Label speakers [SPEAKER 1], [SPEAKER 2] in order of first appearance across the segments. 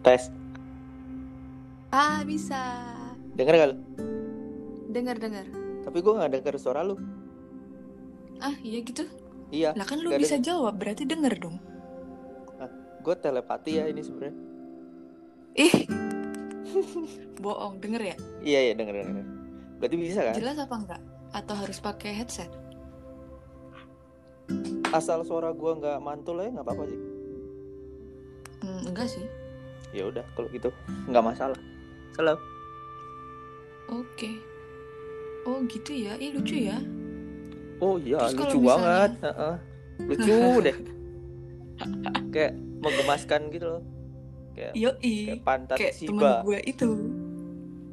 [SPEAKER 1] tes.
[SPEAKER 2] Ah, bisa.
[SPEAKER 1] Dengar gak lu?
[SPEAKER 2] Dengar, dengar.
[SPEAKER 1] Tapi gue gak denger suara lu.
[SPEAKER 2] Ah, iya gitu.
[SPEAKER 1] Iya,
[SPEAKER 2] Lah kan lu
[SPEAKER 1] Nggak
[SPEAKER 2] bisa jawab, berarti denger dong.
[SPEAKER 1] gue telepati ya ini sebenarnya.
[SPEAKER 2] Ih. Bohong, denger ya?
[SPEAKER 1] Iya, iya denger denger. Berarti bisa kan?
[SPEAKER 2] Jelas apa enggak? Atau harus pakai headset?
[SPEAKER 1] Asal suara gue nggak mantul ya nggak apa-apa sih.
[SPEAKER 2] Hmm, enggak sih.
[SPEAKER 1] Ya udah kalau gitu nggak masalah. Salam.
[SPEAKER 2] Oke. Oh, gitu ya. Ih, lucu ya.
[SPEAKER 1] Oh iya,
[SPEAKER 2] Terus kalau
[SPEAKER 1] lucu
[SPEAKER 2] misalnya-
[SPEAKER 1] banget. Heeh. Lucu deh. Kayak menggemaskan gitu loh.
[SPEAKER 2] Yoi.
[SPEAKER 1] Kayak pantat
[SPEAKER 2] kayak temen
[SPEAKER 1] Shiba.
[SPEAKER 2] gue itu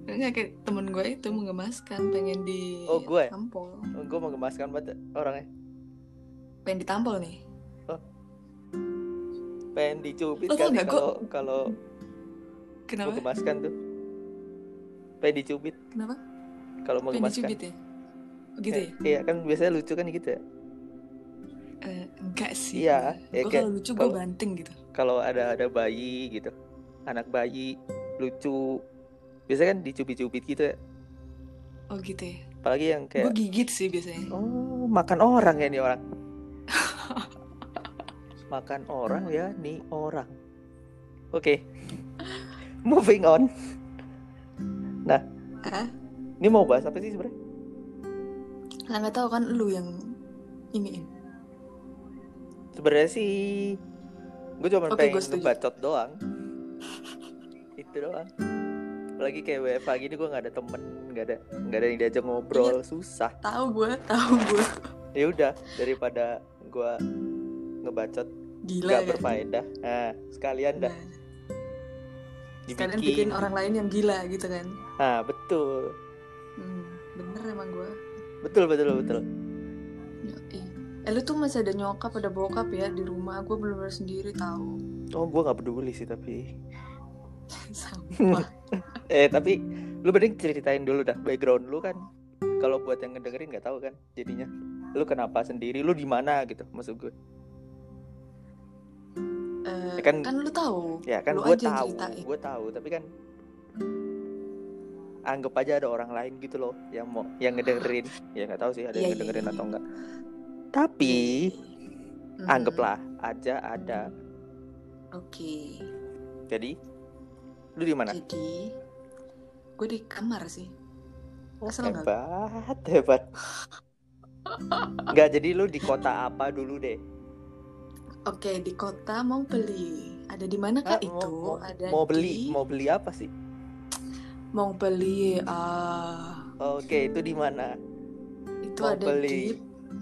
[SPEAKER 2] Enggak, kayak temen gue itu menggemaskan pengen di
[SPEAKER 1] Oh, gue?
[SPEAKER 2] tampol
[SPEAKER 1] Gue menggemaskan banget orangnya.
[SPEAKER 2] pengen ditampol nih
[SPEAKER 1] Pengen dicubit
[SPEAKER 2] Lo tau
[SPEAKER 1] kan
[SPEAKER 2] nggak,
[SPEAKER 1] kalau kalau
[SPEAKER 2] kenapa
[SPEAKER 1] menggemaskan tuh. Pengen dicubit
[SPEAKER 2] kenapa
[SPEAKER 1] kalau
[SPEAKER 2] pengen
[SPEAKER 1] menggemaskan.
[SPEAKER 2] dicubit ya gitu ya
[SPEAKER 1] Eh, Iya kan biasanya lucu kan gitu ya.
[SPEAKER 2] Eh, enggak sih
[SPEAKER 1] Iya, ya
[SPEAKER 2] gue
[SPEAKER 1] kayak
[SPEAKER 2] kalau lucu gue
[SPEAKER 1] kalau-
[SPEAKER 2] banting gitu
[SPEAKER 1] Kalau ada ada bayi gitu. Anak bayi lucu. Biasanya kan dicubit-cubit gitu ya.
[SPEAKER 2] oh gitu ya
[SPEAKER 1] Apalagi yang
[SPEAKER 2] gue
[SPEAKER 1] kayak
[SPEAKER 2] gigit sih biasanya
[SPEAKER 1] Oh, makan orang ya nih orang. makan orang ya nih orang. Oke. Moving on.
[SPEAKER 2] ah
[SPEAKER 1] Ini mau bahas apa sih sebenarnya?
[SPEAKER 2] lah nggak tahu kan lu yang iniin
[SPEAKER 1] Sebenarnya sih gue cuma
[SPEAKER 2] Oke,
[SPEAKER 1] pengen
[SPEAKER 2] gua setuju.
[SPEAKER 1] ngebacot doang. Itu doang. Apalagi kayak WFH gini gue nggak ada temen, nggak ada nggak ada yang diajak ngobrol, susah.
[SPEAKER 2] tahu gue tahu gue
[SPEAKER 1] Ya udah daripada gue ngebacot
[SPEAKER 2] gila
[SPEAKER 1] nggak
[SPEAKER 2] kan
[SPEAKER 1] berfaedah. Nah, sekalian dah
[SPEAKER 2] nah, sekalian bikin orang lain yang gila gitu kan
[SPEAKER 1] Nah, betul.
[SPEAKER 2] hmm, bener emang gue
[SPEAKER 1] Betul, betul, betul.
[SPEAKER 2] Yoi. Eh lu tuh masih ada nyokap ada bokap ya di rumah gue belum bener sendiri tahu
[SPEAKER 1] Oh, gue nggak peduli sih tapi.
[SPEAKER 2] sama
[SPEAKER 1] Eh, tapi lu mending ceritain dulu dah background lu kan. Kalau buat yang ngedengerin nggak tahu kan jadinya. Lu kenapa sendiri? Lu di mana gitu maksud gue.
[SPEAKER 2] Eh,
[SPEAKER 1] Ya
[SPEAKER 2] kan,
[SPEAKER 1] kan-
[SPEAKER 2] lu tahu
[SPEAKER 1] Ya kan
[SPEAKER 2] Lu
[SPEAKER 1] gue
[SPEAKER 2] aja yang
[SPEAKER 1] tahu,
[SPEAKER 2] ceritain.
[SPEAKER 1] gue tahu tapi kan anggap aja ada orang lain gitu loh yang mau yang ngedengerin. Ya nggak tahu sih ada
[SPEAKER 2] Iya, iya,
[SPEAKER 1] yang ngedengerin
[SPEAKER 2] iya.
[SPEAKER 1] atau enggak. Tapi
[SPEAKER 2] Mm,
[SPEAKER 1] anggaplah aja ada.
[SPEAKER 2] Hmm, oke
[SPEAKER 1] Jadi lu di mana?
[SPEAKER 2] jadi gue di kamar sih Asal nggak?
[SPEAKER 1] Eh, hebat, hebat. Enggak, jadi lu di kota apa dulu deh?
[SPEAKER 2] oke di kota mau beli ada di mana
[SPEAKER 1] Ah,
[SPEAKER 2] kak itu
[SPEAKER 1] mau, mau-
[SPEAKER 2] ada
[SPEAKER 1] mau
[SPEAKER 2] di-
[SPEAKER 1] beli mau beli apa sih
[SPEAKER 2] mau beli ah
[SPEAKER 1] oke itu di mana
[SPEAKER 2] itu
[SPEAKER 1] mau
[SPEAKER 2] ada di
[SPEAKER 1] beli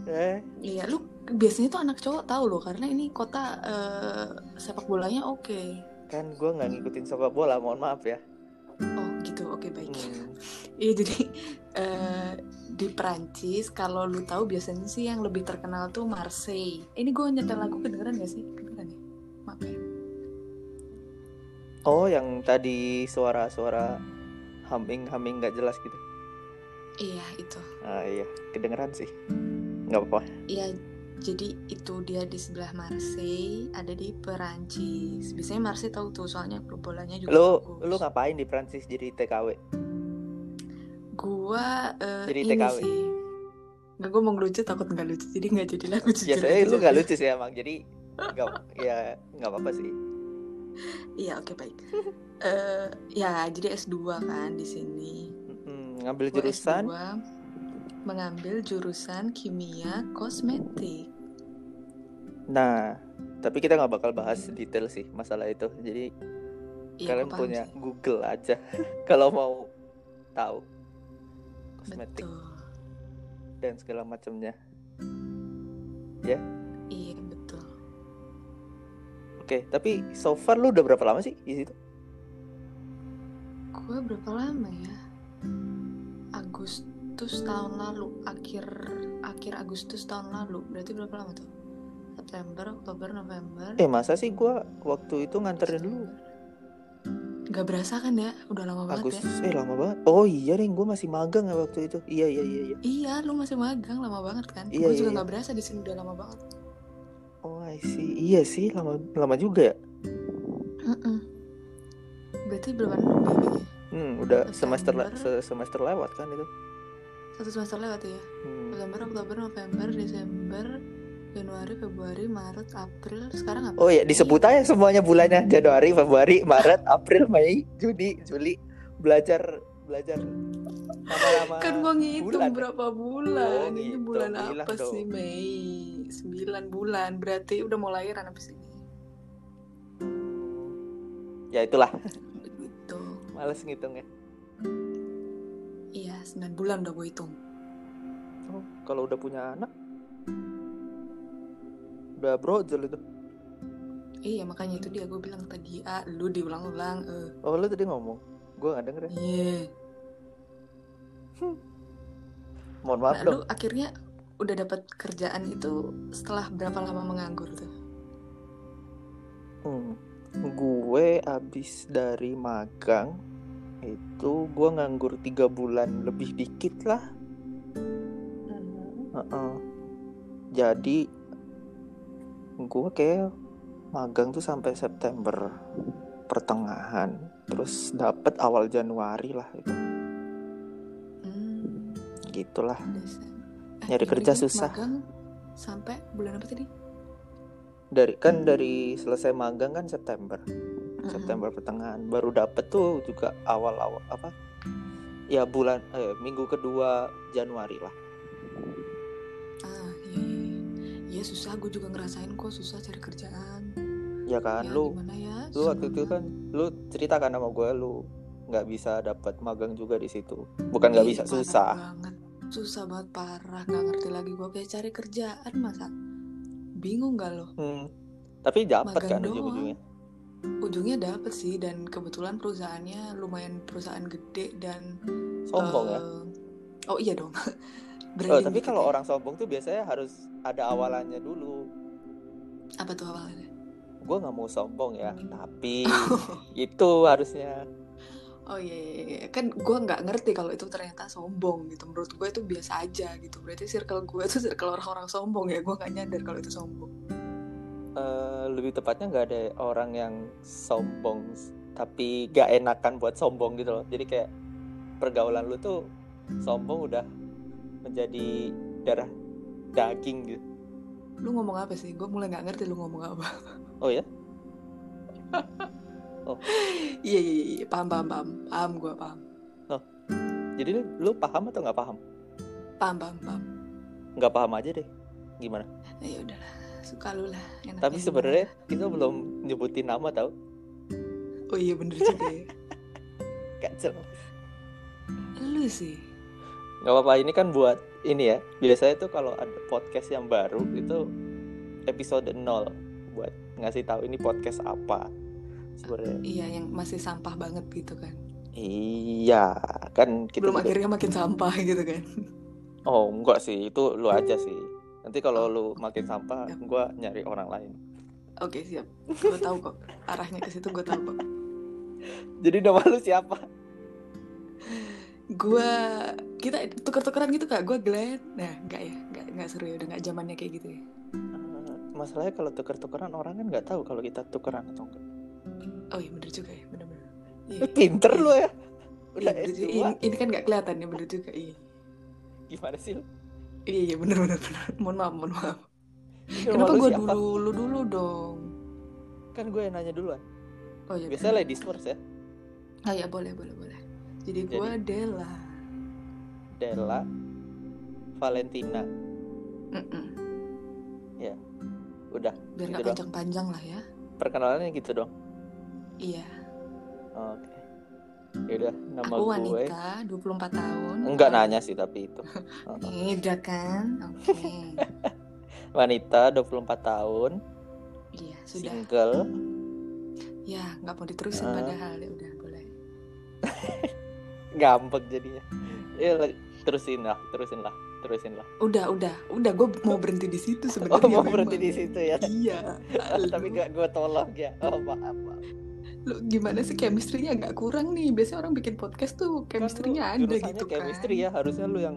[SPEAKER 1] eh
[SPEAKER 2] iya lu biasanya tuh anak cowok tahu loh karena ini kota eh, sepak bolanya oke
[SPEAKER 1] kan gue nggak ngikutin sepak bola mohon maaf ya
[SPEAKER 2] oh gitu oke baik
[SPEAKER 1] Hmm,
[SPEAKER 2] Iya jadi eh, di Perancis kalau lu tahu biasanya sih yang lebih terkenal tuh Marseille. Ini gue nyetel lagu kedengeran gak sih? Kedengeran ya? Maaf ya.
[SPEAKER 1] oh yang tadi suara-suara humming humming nggak jelas gitu
[SPEAKER 2] Iya itu.
[SPEAKER 1] ah iya kedengeran sih nggak apa-apa
[SPEAKER 2] Iya jadi itu dia di sebelah Marseille ada di Perancis. Biasanya Marseille tahu tuh soalnya klub bolanya juga.
[SPEAKER 1] lu
[SPEAKER 2] bagus.
[SPEAKER 1] lu ngapain di Prancis jadi TKW
[SPEAKER 2] Gua eh,
[SPEAKER 1] Jadi
[SPEAKER 2] ini
[SPEAKER 1] TKW.
[SPEAKER 2] sih. Nggak gue mau ngelucu takut nggak lucu jadi nggak jadi lagu jujur.
[SPEAKER 1] biasanya
[SPEAKER 2] aja.
[SPEAKER 1] lu nggak lucu sih emang jadi nggak ya nggak apa-apa sih
[SPEAKER 2] Iya oke baik. Eh ya jadi S2 kan di sini.
[SPEAKER 1] Mm, ngambil
[SPEAKER 2] Gua
[SPEAKER 1] jurusan
[SPEAKER 2] S2 mengambil jurusan kimia kosmetik.
[SPEAKER 1] nah tapi kita nggak bakal bahas detail sih masalah itu jadi
[SPEAKER 2] Iya,
[SPEAKER 1] kalian
[SPEAKER 2] gua paham
[SPEAKER 1] punya
[SPEAKER 2] sih.
[SPEAKER 1] Google aja kalau mau tahu kosmetik
[SPEAKER 2] Betul.
[SPEAKER 1] dan segala macamnya.
[SPEAKER 2] Iya, betul.
[SPEAKER 1] Oke, tapi so far lu udah berapa lama sih di situ?
[SPEAKER 2] Gue berapa lama ya? Agustus tahun lalu, akhir akhir Agustus tahun lalu. Berarti berapa lama tuh? September, Oktober, November.
[SPEAKER 1] Eh masa sih gua waktu itu nganterin lu
[SPEAKER 2] Gak berasa kan ya? Udah lama banget ya?
[SPEAKER 1] Agustus eh lama banget. Oh iya Ring, gua masih magang ya waktu itu. Iya iya iya iya.
[SPEAKER 2] Iya, lu masih magang lama banget kan?
[SPEAKER 1] Iya,
[SPEAKER 2] gue
[SPEAKER 1] iya,
[SPEAKER 2] juga
[SPEAKER 1] iya.
[SPEAKER 2] gak berasa di sini udah lama banget.
[SPEAKER 1] Oh I see. Iya sih lama lama juga ya.
[SPEAKER 2] Mm-mm. berarti belum enam ya kayaknya.
[SPEAKER 1] Hmm, udah semester la-
[SPEAKER 2] September.
[SPEAKER 1] se- semester lewat kan itu.
[SPEAKER 2] Satu semester lewat ya.
[SPEAKER 1] Hmm.
[SPEAKER 2] September, Oktober, November, Desember, Januari, Februari, Maret, April. Sekarang apa?
[SPEAKER 1] Oh ya, disebut aja semuanya bulannya
[SPEAKER 2] Iya.
[SPEAKER 1] Januari, Februari, Maret, April, Mei, Juni, Juli. Belajar belajar lama-lama.
[SPEAKER 2] kan gua ngitung
[SPEAKER 1] bulan.
[SPEAKER 2] berapa bulan.
[SPEAKER 1] Oh,
[SPEAKER 2] Ini
[SPEAKER 1] gitu.
[SPEAKER 2] bulan
[SPEAKER 1] Bilang
[SPEAKER 2] apa
[SPEAKER 1] dong.
[SPEAKER 2] sih Mei? 9 bulan. Berarti udah mau lahiran abis ini.
[SPEAKER 1] Ya itulah,
[SPEAKER 2] Begitu.
[SPEAKER 1] males ngitungnya.
[SPEAKER 2] Iya, 9 bulan udah gue hitung.
[SPEAKER 1] Oh, kalau udah punya anak udah brojol itu.
[SPEAKER 2] Iya, makanya itu dia gue bilang tadi, ah, lu diulang-ulang. Eh,
[SPEAKER 1] Oh, lu tadi ngomong. Gua nggak denger. ya.
[SPEAKER 2] iya.
[SPEAKER 1] Mohon maaf
[SPEAKER 2] Nah,
[SPEAKER 1] dong.
[SPEAKER 2] lu akhirnya udah dapat kerjaan itu setelah berapa lama menganggur tuh?
[SPEAKER 1] Hmm. Gue abis dari magang itu gue nganggur tiga bulan lebih dikit lah. Heeh. Jadi gue kayak magang tuh sampai September pertengahan, terus dapet awal Januari lah itu.
[SPEAKER 2] Hmm,
[SPEAKER 1] Gitulah.
[SPEAKER 2] Desember. Eh,
[SPEAKER 1] Nyari
[SPEAKER 2] iya
[SPEAKER 1] kerja
[SPEAKER 2] lagi,
[SPEAKER 1] susah.
[SPEAKER 2] Magang sampai bulan apa tadi?
[SPEAKER 1] Dari kan dari selesai magang kan September. September pertengahan baru dapet tuh juga awal-awal apa ya bulan eh, minggu kedua Januari lah
[SPEAKER 2] Mm-mm. Ah, iya, iya, iya. Iya, susah, gue juga ngerasain kok susah cari kerjaan.
[SPEAKER 1] ya kan
[SPEAKER 2] Ya,
[SPEAKER 1] lu
[SPEAKER 2] gimana ya?
[SPEAKER 1] lu waktu itu
[SPEAKER 2] semangat.
[SPEAKER 1] kan lu cerita kan sama gue lu nggak bisa dapat magang juga di situ bukan nggak
[SPEAKER 2] Ih,
[SPEAKER 1] bisa
[SPEAKER 2] parah
[SPEAKER 1] susah
[SPEAKER 2] banget. Susah banget parah, gak ngerti lagi gue kayak cari kerjaan masa. Bingung gak lo?
[SPEAKER 1] Hmm. tapi dapet
[SPEAKER 2] Magang
[SPEAKER 1] kan
[SPEAKER 2] doang.
[SPEAKER 1] ujung-ujungnya
[SPEAKER 2] Ujungnya dapet sih dan kebetulan perusahaannya lumayan perusahaan gede dan
[SPEAKER 1] sombong ya
[SPEAKER 2] eh, Oh iya dong.
[SPEAKER 1] oh,
[SPEAKER 2] Branding
[SPEAKER 1] tapi
[SPEAKER 2] dikit
[SPEAKER 1] kalau
[SPEAKER 2] ya.
[SPEAKER 1] orang sombong tuh biasanya harus ada awalannya dulu
[SPEAKER 2] apa tuh awalnya?
[SPEAKER 1] gue nggak mau sombong ya tapi itu harusnya
[SPEAKER 2] Oh iya, iya, iya. kan gue nggak ngerti kalau itu ternyata sombong gitu. Menurut gue itu biasa aja gitu. Berarti circle gue itu circle orang-orang sombong ya. Gue nggak nyadar kalau itu sombong.
[SPEAKER 1] Eh, lebih tepatnya nggak ada orang yang sombong tapi gak enakan buat sombong gitu loh jadi kayak pergaulan lu tuh sombong udah menjadi darah daging gitu
[SPEAKER 2] Lu ngomong apa sih? Gue mulai nggak ngerti lu ngomong apa.
[SPEAKER 1] oh ya
[SPEAKER 2] iya iya iya, iya. paham
[SPEAKER 1] Hmm.
[SPEAKER 2] paham paham paham gue paham
[SPEAKER 1] jadi lu, lu paham atau nggak paham
[SPEAKER 2] paham paham paham.
[SPEAKER 1] nggak paham aja deh gimana
[SPEAKER 2] Nah, ya udahlah, suka lu lah. enaknya
[SPEAKER 1] tapi
[SPEAKER 2] gimana.
[SPEAKER 1] sebenarnya kita belum nyebutin nama tau
[SPEAKER 2] oh iya bener juga ya.
[SPEAKER 1] gak jelas
[SPEAKER 2] lu sih.
[SPEAKER 1] nggak apa-apa ini kan buat ini ya biasanya tuh kalau ada podcast yang baru itu episode 0 buat ngasih tahu ini podcast apa sebenarnya
[SPEAKER 2] Iya yang masih sampah banget gitu kan.
[SPEAKER 1] Iya, kan kita
[SPEAKER 2] Belum
[SPEAKER 1] juga-
[SPEAKER 2] akhirnya makin sampah gitu kan.
[SPEAKER 1] Oh, enggak sih, itu lu aja sih. Nanti kalau
[SPEAKER 2] Oh. Ya.
[SPEAKER 1] lu makin sampah,
[SPEAKER 2] Yap.
[SPEAKER 1] gua nyari orang lain.
[SPEAKER 2] Oke siap. Gue tahu kok arahnya ke situ gue tahu kok.
[SPEAKER 1] Jadi nama lu siapa?
[SPEAKER 2] gue kita tuker-tukeran gitu kak gue Glenn nah nggak ya nggak nggak seru ya udah nggak zamannya kayak gitu ya
[SPEAKER 1] Eh, Masalahnya kalau tuker-tukeran orang kan nggak tahu kalau kita tukeran atau enggak.
[SPEAKER 2] oh iya bener juga ya bener-bener iya
[SPEAKER 1] Lu pinter lu ya.
[SPEAKER 2] Iya,
[SPEAKER 1] Udah
[SPEAKER 2] bener
[SPEAKER 1] S2
[SPEAKER 2] juga. ini, ini kan nggak kelihatan ya bener juga iya
[SPEAKER 1] gimana sih lu?
[SPEAKER 2] iya iya bener bener bener mohon maaf mohon maaf
[SPEAKER 1] Ini nama
[SPEAKER 2] kenapa
[SPEAKER 1] lu
[SPEAKER 2] gue
[SPEAKER 1] siapa?
[SPEAKER 2] dulu lu dulu dong
[SPEAKER 1] Kan gue yang nanya duluan.
[SPEAKER 2] oh iya
[SPEAKER 1] Biasanya ladies first ya.
[SPEAKER 2] oh iya boleh boleh boleh jadi gue Della
[SPEAKER 1] Della, Valentina,
[SPEAKER 2] Mm-mm.
[SPEAKER 1] Iya. udah
[SPEAKER 2] biar
[SPEAKER 1] Gitu
[SPEAKER 2] nggak
[SPEAKER 1] doang.
[SPEAKER 2] panjang-panjang lah ya
[SPEAKER 1] perkenalannya gitu dong.
[SPEAKER 2] iya
[SPEAKER 1] Oke. Yaudah, nama
[SPEAKER 2] aku
[SPEAKER 1] gue.
[SPEAKER 2] wanita 24 tahun
[SPEAKER 1] Enggak nanya sih tapi itu. Heeh.
[SPEAKER 2] Eh, udah kan oke
[SPEAKER 1] wanita 24 tahun
[SPEAKER 2] iya sudah
[SPEAKER 1] single
[SPEAKER 2] ya nggak mau diterusin
[SPEAKER 1] Ah.
[SPEAKER 2] padahal ya udah boleh
[SPEAKER 1] gampang jadinya ya la- terusin lah terusin lah terusin lah
[SPEAKER 2] Udah, udah, udah. Gue mau berhenti di situ sebenarnya.
[SPEAKER 1] oh mau
[SPEAKER 2] memang.
[SPEAKER 1] berhenti di situ ya
[SPEAKER 2] Iya.
[SPEAKER 1] tapi
[SPEAKER 2] Lu-
[SPEAKER 1] nggak gue tolong ya oh maaf maaf.
[SPEAKER 2] lu gimana sih chemistry-nya agak kurang nih. Biasanya orang bikin podcast tuh
[SPEAKER 1] Kan lu
[SPEAKER 2] chemistry-nya ada
[SPEAKER 1] jurusannya
[SPEAKER 2] gitu
[SPEAKER 1] chemistry
[SPEAKER 2] kan.
[SPEAKER 1] ya harusnya lu yang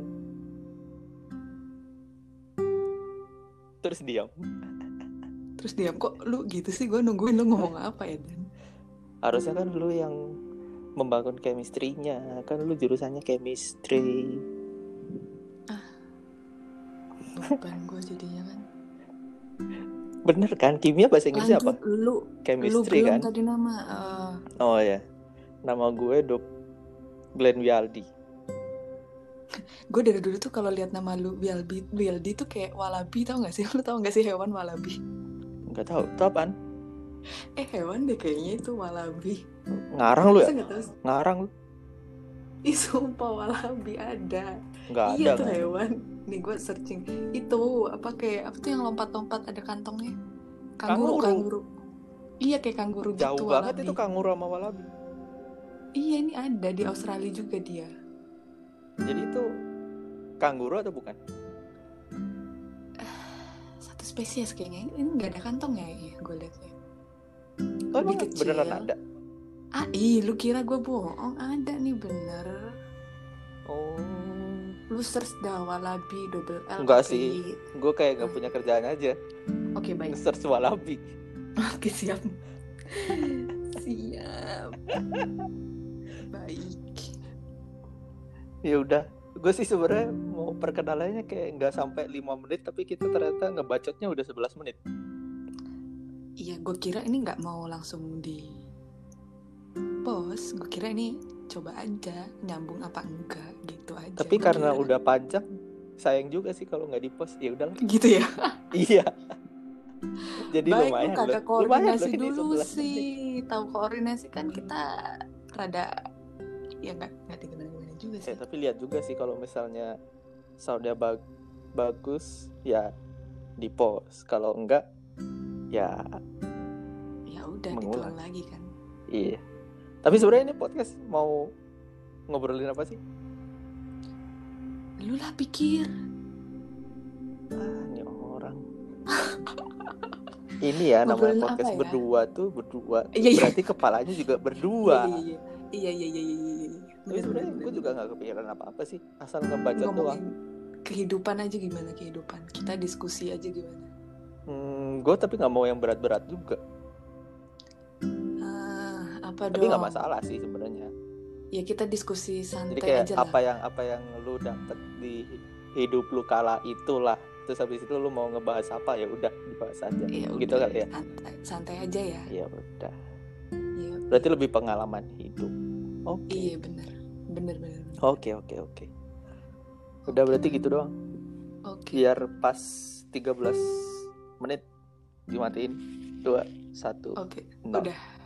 [SPEAKER 1] terus diam
[SPEAKER 2] Terus diam kok lu gitu sih. Gue nungguin lu ngomong apa ya Dan.
[SPEAKER 1] harusnya kan lu yang membangun chemistry-nya kan lu jurusannya chemistry
[SPEAKER 2] Beban gue jadinya kan.
[SPEAKER 1] bener kan kimia bahasa Inggrisnya apa
[SPEAKER 2] Lanjut, Lu, lu
[SPEAKER 1] chemistry
[SPEAKER 2] belum
[SPEAKER 1] kan
[SPEAKER 2] tadi nama. eh,
[SPEAKER 1] oh ya nama gue Dok Glenn Wialdi
[SPEAKER 2] gue dari dulu tuh kalau lihat nama lu Bialbi, Bialdi tuh kayak walabi tau gak sih? Lu tau gak sih hewan walabi?
[SPEAKER 1] nggak tahu itu apaan
[SPEAKER 2] Eh hewan deh kayaknya itu walabi.
[SPEAKER 1] ngarang lu ya
[SPEAKER 2] Masa nggak tahu? sih?
[SPEAKER 1] ngarang lu
[SPEAKER 2] Ih sumpah walabi ada.
[SPEAKER 1] nggak ada kan?
[SPEAKER 2] iya tuh
[SPEAKER 1] nggak ada.
[SPEAKER 2] hewan. Nih gue searching itu apa kayak apa tuh yang lompat-lompat ada kantongnya? Kanguru,
[SPEAKER 1] Kanguru.
[SPEAKER 2] kanguru. Iya kayak kanguru
[SPEAKER 1] jauh
[SPEAKER 2] gitu
[SPEAKER 1] banget
[SPEAKER 2] walabi.
[SPEAKER 1] itu kanguru sama walabi
[SPEAKER 2] Iya ini ada di Australia juga dia.
[SPEAKER 1] jadi itu kanguru atau bukan
[SPEAKER 2] Satu spesies kayaknya. Ini nggak ada kantongnya ya gue liatnya.
[SPEAKER 1] oh,
[SPEAKER 2] Lebih
[SPEAKER 1] emang
[SPEAKER 2] kecil.
[SPEAKER 1] beneran ada
[SPEAKER 2] Ah ih lu kira gue bohong? Ada nih bener.
[SPEAKER 1] oh
[SPEAKER 2] lu search dah walabi double L
[SPEAKER 1] Enggak
[SPEAKER 2] pakai
[SPEAKER 1] sih.
[SPEAKER 2] Y.
[SPEAKER 1] gue kayak
[SPEAKER 2] Hmm.
[SPEAKER 1] nggak punya kerjaan aja
[SPEAKER 2] oke baik
[SPEAKER 1] search walabi
[SPEAKER 2] oke siap siap baik
[SPEAKER 1] ya udah gue sih sebenarnya mau perkenalannya kayak nggak sampai 5 menit tapi kita ternyata ngebacotnya udah 11 menit
[SPEAKER 2] iya gue kira ini nggak mau langsung di pos gue kira ini coba aja nyambung apa enggak gitu aja
[SPEAKER 1] tapi
[SPEAKER 2] Gua
[SPEAKER 1] karena
[SPEAKER 2] kira-
[SPEAKER 1] udah panjang sayang juga sih kalau nggak di post ya udah
[SPEAKER 2] gitu ya
[SPEAKER 1] iya jadi
[SPEAKER 2] baik lu
[SPEAKER 1] lumayan loh.
[SPEAKER 2] kagak
[SPEAKER 1] lumayan
[SPEAKER 2] koordinasi
[SPEAKER 1] loh ini
[SPEAKER 2] dulu
[SPEAKER 1] 11
[SPEAKER 2] sih
[SPEAKER 1] menit.
[SPEAKER 2] tahu koordinasi kan kita rada ya nggak nggak gimana gimana juga
[SPEAKER 1] Ya,
[SPEAKER 2] sih
[SPEAKER 1] tapi lihat juga sih kalau misalnya soundnya bag- bagus ya di post kalau enggak ya
[SPEAKER 2] ya udah
[SPEAKER 1] Mengulang.
[SPEAKER 2] diulang lagi kan
[SPEAKER 1] iya tapi sebenarnya ini podcast mau ngobrolin apa sih
[SPEAKER 2] lu lah pikir
[SPEAKER 1] Hmm. ah, ini orang ini ya namanya
[SPEAKER 2] Ngobrolin apa
[SPEAKER 1] podcast
[SPEAKER 2] ya?
[SPEAKER 1] berdua tuh berdua
[SPEAKER 2] Iya, iya.
[SPEAKER 1] berarti kepalanya juga berdua
[SPEAKER 2] Iya iya iya iya iya. iya, iya.
[SPEAKER 1] tapi
[SPEAKER 2] Bener,
[SPEAKER 1] sebenarnya
[SPEAKER 2] bener,
[SPEAKER 1] gue
[SPEAKER 2] bener.
[SPEAKER 1] juga nggak kepikiran apa-apa sih asal ngebacot doang
[SPEAKER 2] ngomongin kehidupan aja gimana kehidupan. Kita diskusi aja gimana.
[SPEAKER 1] hmm, gue tapi nggak mau yang berat-berat juga
[SPEAKER 2] Ah, apa
[SPEAKER 1] tapi
[SPEAKER 2] dong?
[SPEAKER 1] nggak masalah sih sebenarnya
[SPEAKER 2] Ya kita diskusi
[SPEAKER 1] jadi
[SPEAKER 2] santai
[SPEAKER 1] kayak
[SPEAKER 2] aja
[SPEAKER 1] apa
[SPEAKER 2] lah.
[SPEAKER 1] yang apa yang lu dapet di hidup lu kala itulah terus habis itu lu mau ngebahas apa ya udah dibahas aja
[SPEAKER 2] Ya
[SPEAKER 1] gitu
[SPEAKER 2] udah,
[SPEAKER 1] kali ya
[SPEAKER 2] Santai, santai aja ya.
[SPEAKER 1] ya udah
[SPEAKER 2] Iya.
[SPEAKER 1] berarti lebih pengalaman hidup oke
[SPEAKER 2] Iya bener. Bener bener. bener.
[SPEAKER 1] oke oke oke udah berarti gitu doang
[SPEAKER 2] Oke.
[SPEAKER 1] biar pas 13 menit dimatiin dua satu
[SPEAKER 2] Oke.
[SPEAKER 1] nol.
[SPEAKER 2] Udah.